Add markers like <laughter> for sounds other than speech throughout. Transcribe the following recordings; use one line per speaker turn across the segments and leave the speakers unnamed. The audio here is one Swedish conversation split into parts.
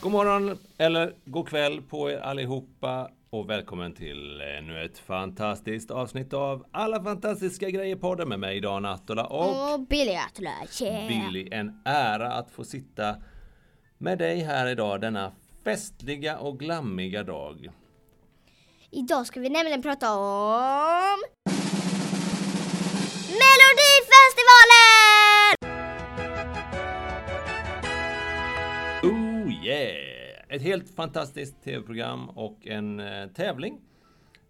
God morgon eller god kväll på er allihopa och välkommen till ännu ett fantastiskt avsnitt av Alla fantastiska grejer podden med mig Dan Attola och
Och Billy Atula, yeah.
Billy. En ära att få sitta med dig här idag denna festliga och glammiga dag.
Idag ska vi nämligen prata om... Melodifestivalen!
Oh yeah! Ett helt fantastiskt tv-program och en eh, tävling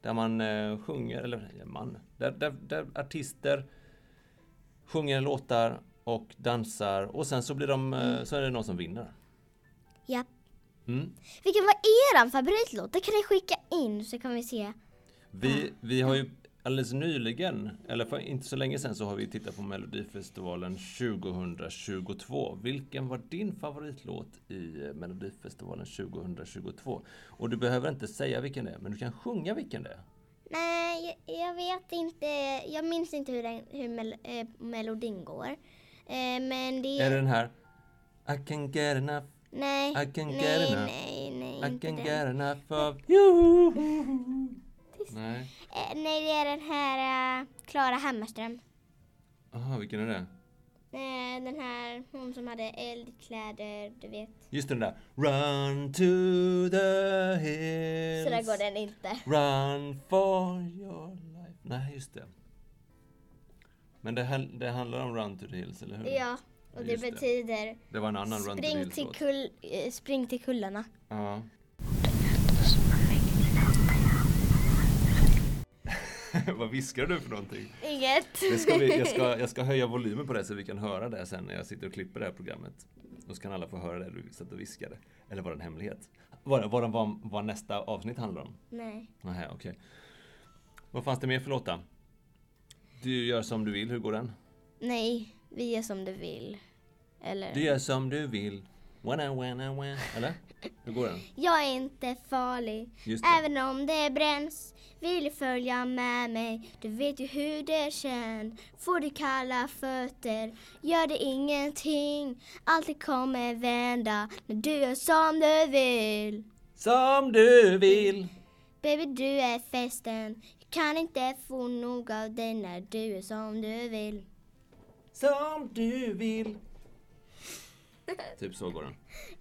där man eh, sjunger, eller ja, man, där, där, där artister sjunger låtar och dansar och sen så blir de, eh, så är det någon som vinner.
Ja.
Mm.
Vilken var eran favoritlåt? Det kan ni skicka in så kan vi se.
Vi, vi har ju alldeles nyligen, eller för inte så länge sedan, så har vi tittat på Melodifestivalen 2022. Vilken var din favoritlåt i eh, Melodifestivalen 2022? Och du behöver inte säga vilken det är, men du kan sjunga vilken det är.
Nej, jag, jag vet inte. Jag minns inte hur, den, hur mel, eh, melodin går. Eh, men det...
Är det den här? I can get enough,
Nej,
I can
nej,
get enough.
nej, nej,
I
inte
can
den.
get enough of you. Nej.
Eh, nej, det är den här eh, Klara Hammarström.
Aha, vilken är det?
Eh, den här, hon som hade eldkläder, du vet.
Just den där. Run to the
Så där
hills.
går den inte.
Run for your life. Nej, just det. Men det, här, det handlar om Run to the hills, eller hur?
Ja, och det
Mm. Just det.
betyder
Det var en annan Run to the
spring till,
hills-låt.
kull, eh, spring till kullarna.
Ja. <laughs> Vad viskar du för någonting?
Inget.
Det ska <laughs> vi, jag, ska, jag ska höja volymen på det så vi kan höra det sen när jag sitter och klipper det här programmet. Då kan alla få höra det du satt och viskade. Eller var det en hemlighet? Vad var, var, var nästa avsnitt handlar om?
Nej.
Nej, okej. Vad fanns det mer för låta? Du gör som du vill, hur går den?
Nej, vi gör som du vill. Eller?
Du gör som du vill. Wanna, wanna, wanna. Eller? Hur går den?
Jag är inte farlig,
Just det.
även om det bränns. Vill du följa med mig? Du vet ju hur det känns. Får du kalla fötter, gör det ingenting. Allt det kommer vända när du gör som du vill.
Som du vill!
Baby du är festen, jag kan inte få nog av dig när du är som du vill.
Som du vill! Typ så går den.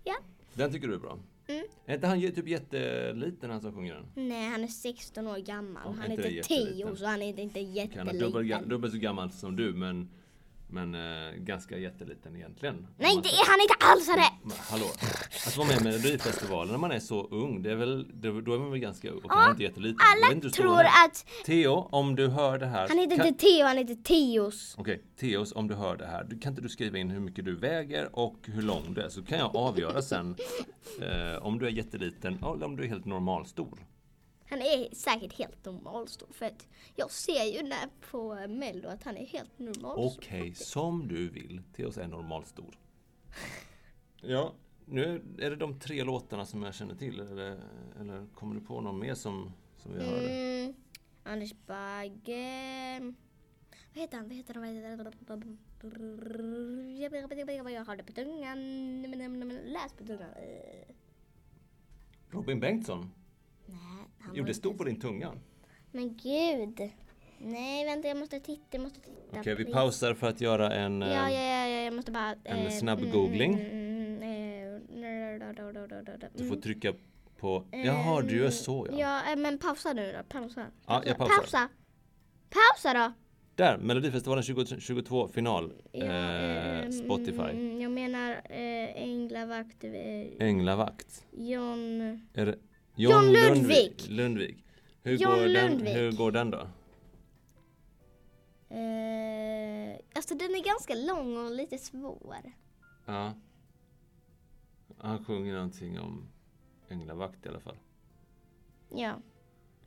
Ja.
Den tycker du är bra?
Mm.
Är inte han ju typ jätteliten han som sjunger den?
Nej, han är 16 år gammal.
Ja,
han
inte
är inte
jätteliten.
10 så han är inte, inte
Kan han är dubbel, ga-
jätteliten.
dubbelt så gammal som du men, men eh, ganska jätteliten egentligen.
Nej,
Om man-
det är han inte alls! Han är...
Men hallå, att vara med i Melodifestivalen när man är så ung, det är väl, det, då är man väl ganska ung? Okej, han är inte jätteliten. Jag vet
Alla
inte hur stor
tror
han är.
att...
Theo, om du hör det här...
Han heter
Alltså, kan-
inte Theo, han heter Teos.
Okej, Theos, om du hör det här, du, kan inte du skriva in hur mycket du väger och hur lång du är? Så kan jag avgöra sen eh, om du är jätteliten eller om du är helt normalstor.
Han är säkert helt normal stor, för att jag ser ju när på eh, Mello att han är helt normal stor.
Okej, som du vill. Theos är normalstor. Ja, nu är det de tre låtarna som jag känner till. Eller, eller kommer du på någon mer som, som vi hörde?
Mm. Anders Bagge. Vad heter han? Vad heter han? Vad heter han? Jag har det på tungan. Läs på tungan. Eh,
Robin Bengtsson?
Nej, han
Jo,
var...
det stod på din tunga.
Men gud. Nej, vänta, jag måste titta. Jag måste titta.
Okej, vi
please.
pausar för att göra en... eh,
Ja, mm. ja, ja, ja, jag måste bara...
en
eh,
snabb
mm,
googling.
mm, mm, eh,
Du får trycka på...
Mm.
Jaha, du gör så ja.
Ja, eh, men pausa nu då. Pausa.
Ja, jag pausar.
Pausa. Pausa då.
Där! Melodifestivalen 2022 final.
Ja,
eh,
ehm,
Spotify.
mm, Jag menar eh, änglavakt, eh,
Änglavakt.
John...
Är det...
John Lundvik.
Lundvik. Hur,
John
går Den,
Lundvik.
hur går den då?
Eh, alltså den är ganska lång och lite svår.
Ja. Han sjunger någonting om änglavakt i alla fall.
Ja.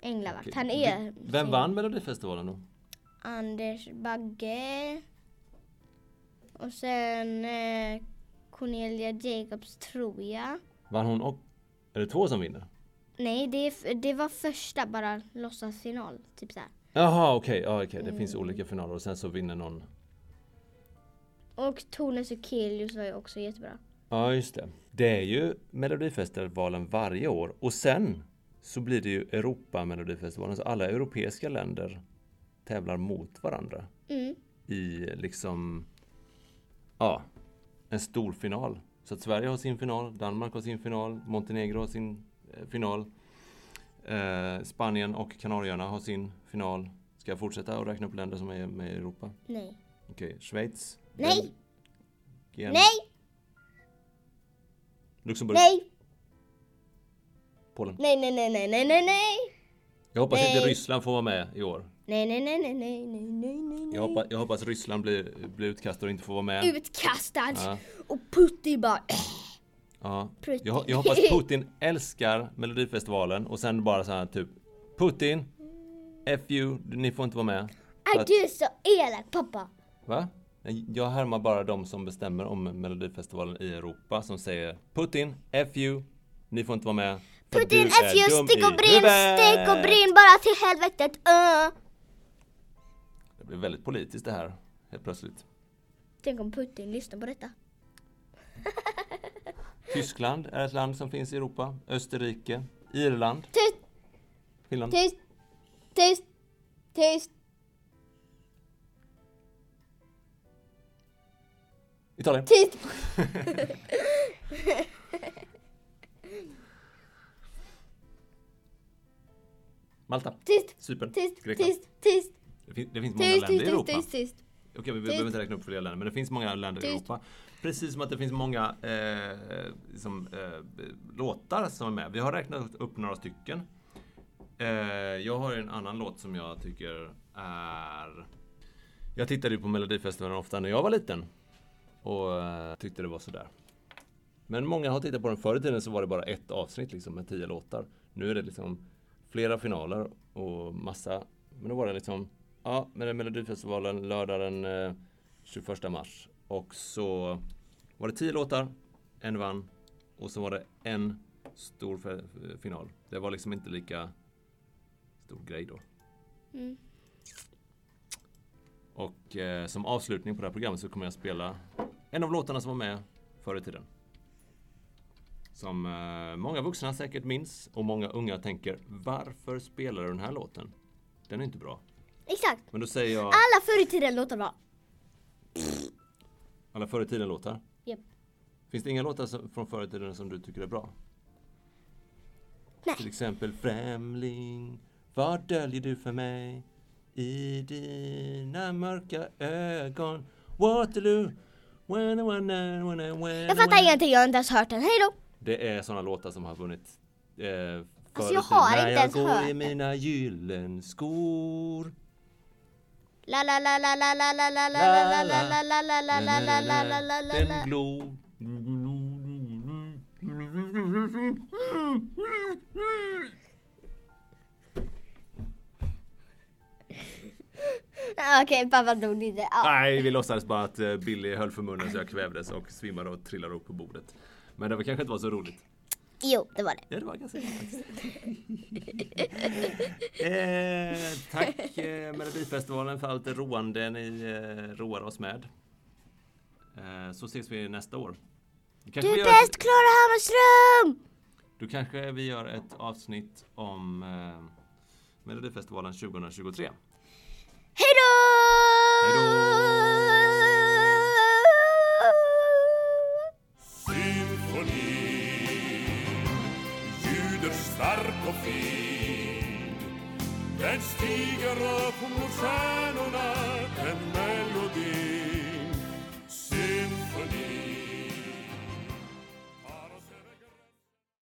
Änglavakt.
Okej.
Han är...
Vi- Vem vann Melodifestivalen då?
Anders Bagge. Och sen eh, Cornelia Jacobs tror jag.
Vann hon och... Är det två som vinner?
Nej, det, är f- det var första bara låtsasfinal. Typ såhär.
Jaha, okej. ja, okej. Det
Mm.
finns olika finaler och sen så vinner någon.
Och Tone Sekelius var ju också jättebra.
Ja, just det. Det är ju Melodifestivalen varje år och sen så blir det ju Europa-melodifestivalen. Så alla europeiska länder tävlar mot varandra
Mm.
i liksom, ja, en stor final. Så att Sverige har sin final, Danmark har sin final, Montenegro har sin eh, final. Eh, Spanien och Kanarieöarna har sin final. Ska jag fortsätta och räkna upp länder som är med i Europa?
Nej.
Okej, Schweiz.
Nej.
Belgien,
Nej,
Luxemburg.
nej,
Polen.
nej, nej, nej, nej, nej, nej, nej.
Jag hoppas inte
Nej.
Ryssland får vara med i år.
Nej, nej, nej, nej, nej, nej, nej, nej, nej.
Jag hoppas, jag hoppas Ryssland blir, blir utkastad och inte får vara med.
Utkastad.
Ja,
Och Putti bara... eh,
ja.
Putin.
Jag, jag
<laughs>
hoppas Putin älskar Melodifestivalen och sen bara så här typ Putin, F you, ni får inte vara med.
Är du är så elak pappa?
Va? Nej, Jag härmar bara de som bestämmer om Melodifestivalen i Europa som säger Putin, F you, ni får inte vara med. för
Putin,
du
F
är
you,
dum
stick
i
och brinn,
huvudet."
stick och brinn bara till helvetet. Uh.
Det blir väldigt politiskt det här helt plötsligt.
Tänk om Putin lyssnar på detta.
Tyskland är ett land som finns i Europa. Österrike, Irland,
Tyst,
Finland.
tyst, tyst, tyst.
Italien.
Tyst!
Malta.
Tyst!
Cypern.
Tyst!
Grekland.
Tyst! Tyst!
Det, fin- det finns många
Tyst!
länder i
Tyst!
Europa.
Tyst! Tyst!
Okej, vi behöver inte räkna upp fler länder, men det finns många länder i
Tyst.
Europa. Precis som att det finns många eh, liksom, eh, låtar som är med. Vi har räknat upp några stycken. Eh, jag har ju en annan låt som jag tycker är... Jag tittade ju på Melodifestivalen ofta när jag var liten. Och eh, tyckte det var sådär. Men många har tittat på den. Förr i tiden så var det bara ett avsnitt liksom, med tio låtar. Nu är det liksom flera finaler och massa. Men då var det liksom, ja, men det är Melodifestivalen lördag den eh, 21 mars. Och så var det tio låtar, en vann och så var det en stor fe- final. Det var liksom inte lika stor grej då.
Mm.
Och eh, som avslutning på det här programmet så kommer jag spela en av låtarna som var med förr i tiden. Som eh, många vuxna säkert minns och många unga tänker Varför spelar du den här låten? Den är inte bra.
Exakt!
Men då säger jag
Alla förr i tiden låter bra.
alla förr i tiden låtar.
Japp.
Finns det inga låtar som, från förr i tiden som du tycker är bra?
Nej.
Till exempel Främling, vad döljer du för mig? I dina mörka ögon Waterloo when, I- when, I- when, I- when,
Jag
I- when.
fattar ingenting, jag har inte ens hört den. Hejdå!
Det är sådana låtar som har vunnit. Eh, förut.
Alltså, jag har
När
inte
jag
ens
går
hört
i
det.
mina gyllenskor.
La la la la la la la la la la la la la la la la la la la la la la
Den glo...
Ah, Okej, pappa dog lite. Ja.
Nej, vi låtsades bara att eh, Billy höll för munnen så jag kvävdes och svimmade och trillade upp på bordet. Men det var kanske inte var så roligt.
Jo, det var det.
Ja, det var ganska roligt faktiskt. eh,
<laughs>
tack eh, Melodifestivalen för allt det roande ni eh, roar oss med. Eh, så ses vi nästa år. Kanske
Du
vi gör
är bäst
ett,
Klara Hammarström!
då kanske vi gör ett avsnitt om eh, Melodifestivalen 2023.
Hejdå!
Symfoni ljuder stark och fin Den stiger upp mot stjärnorna, den melodin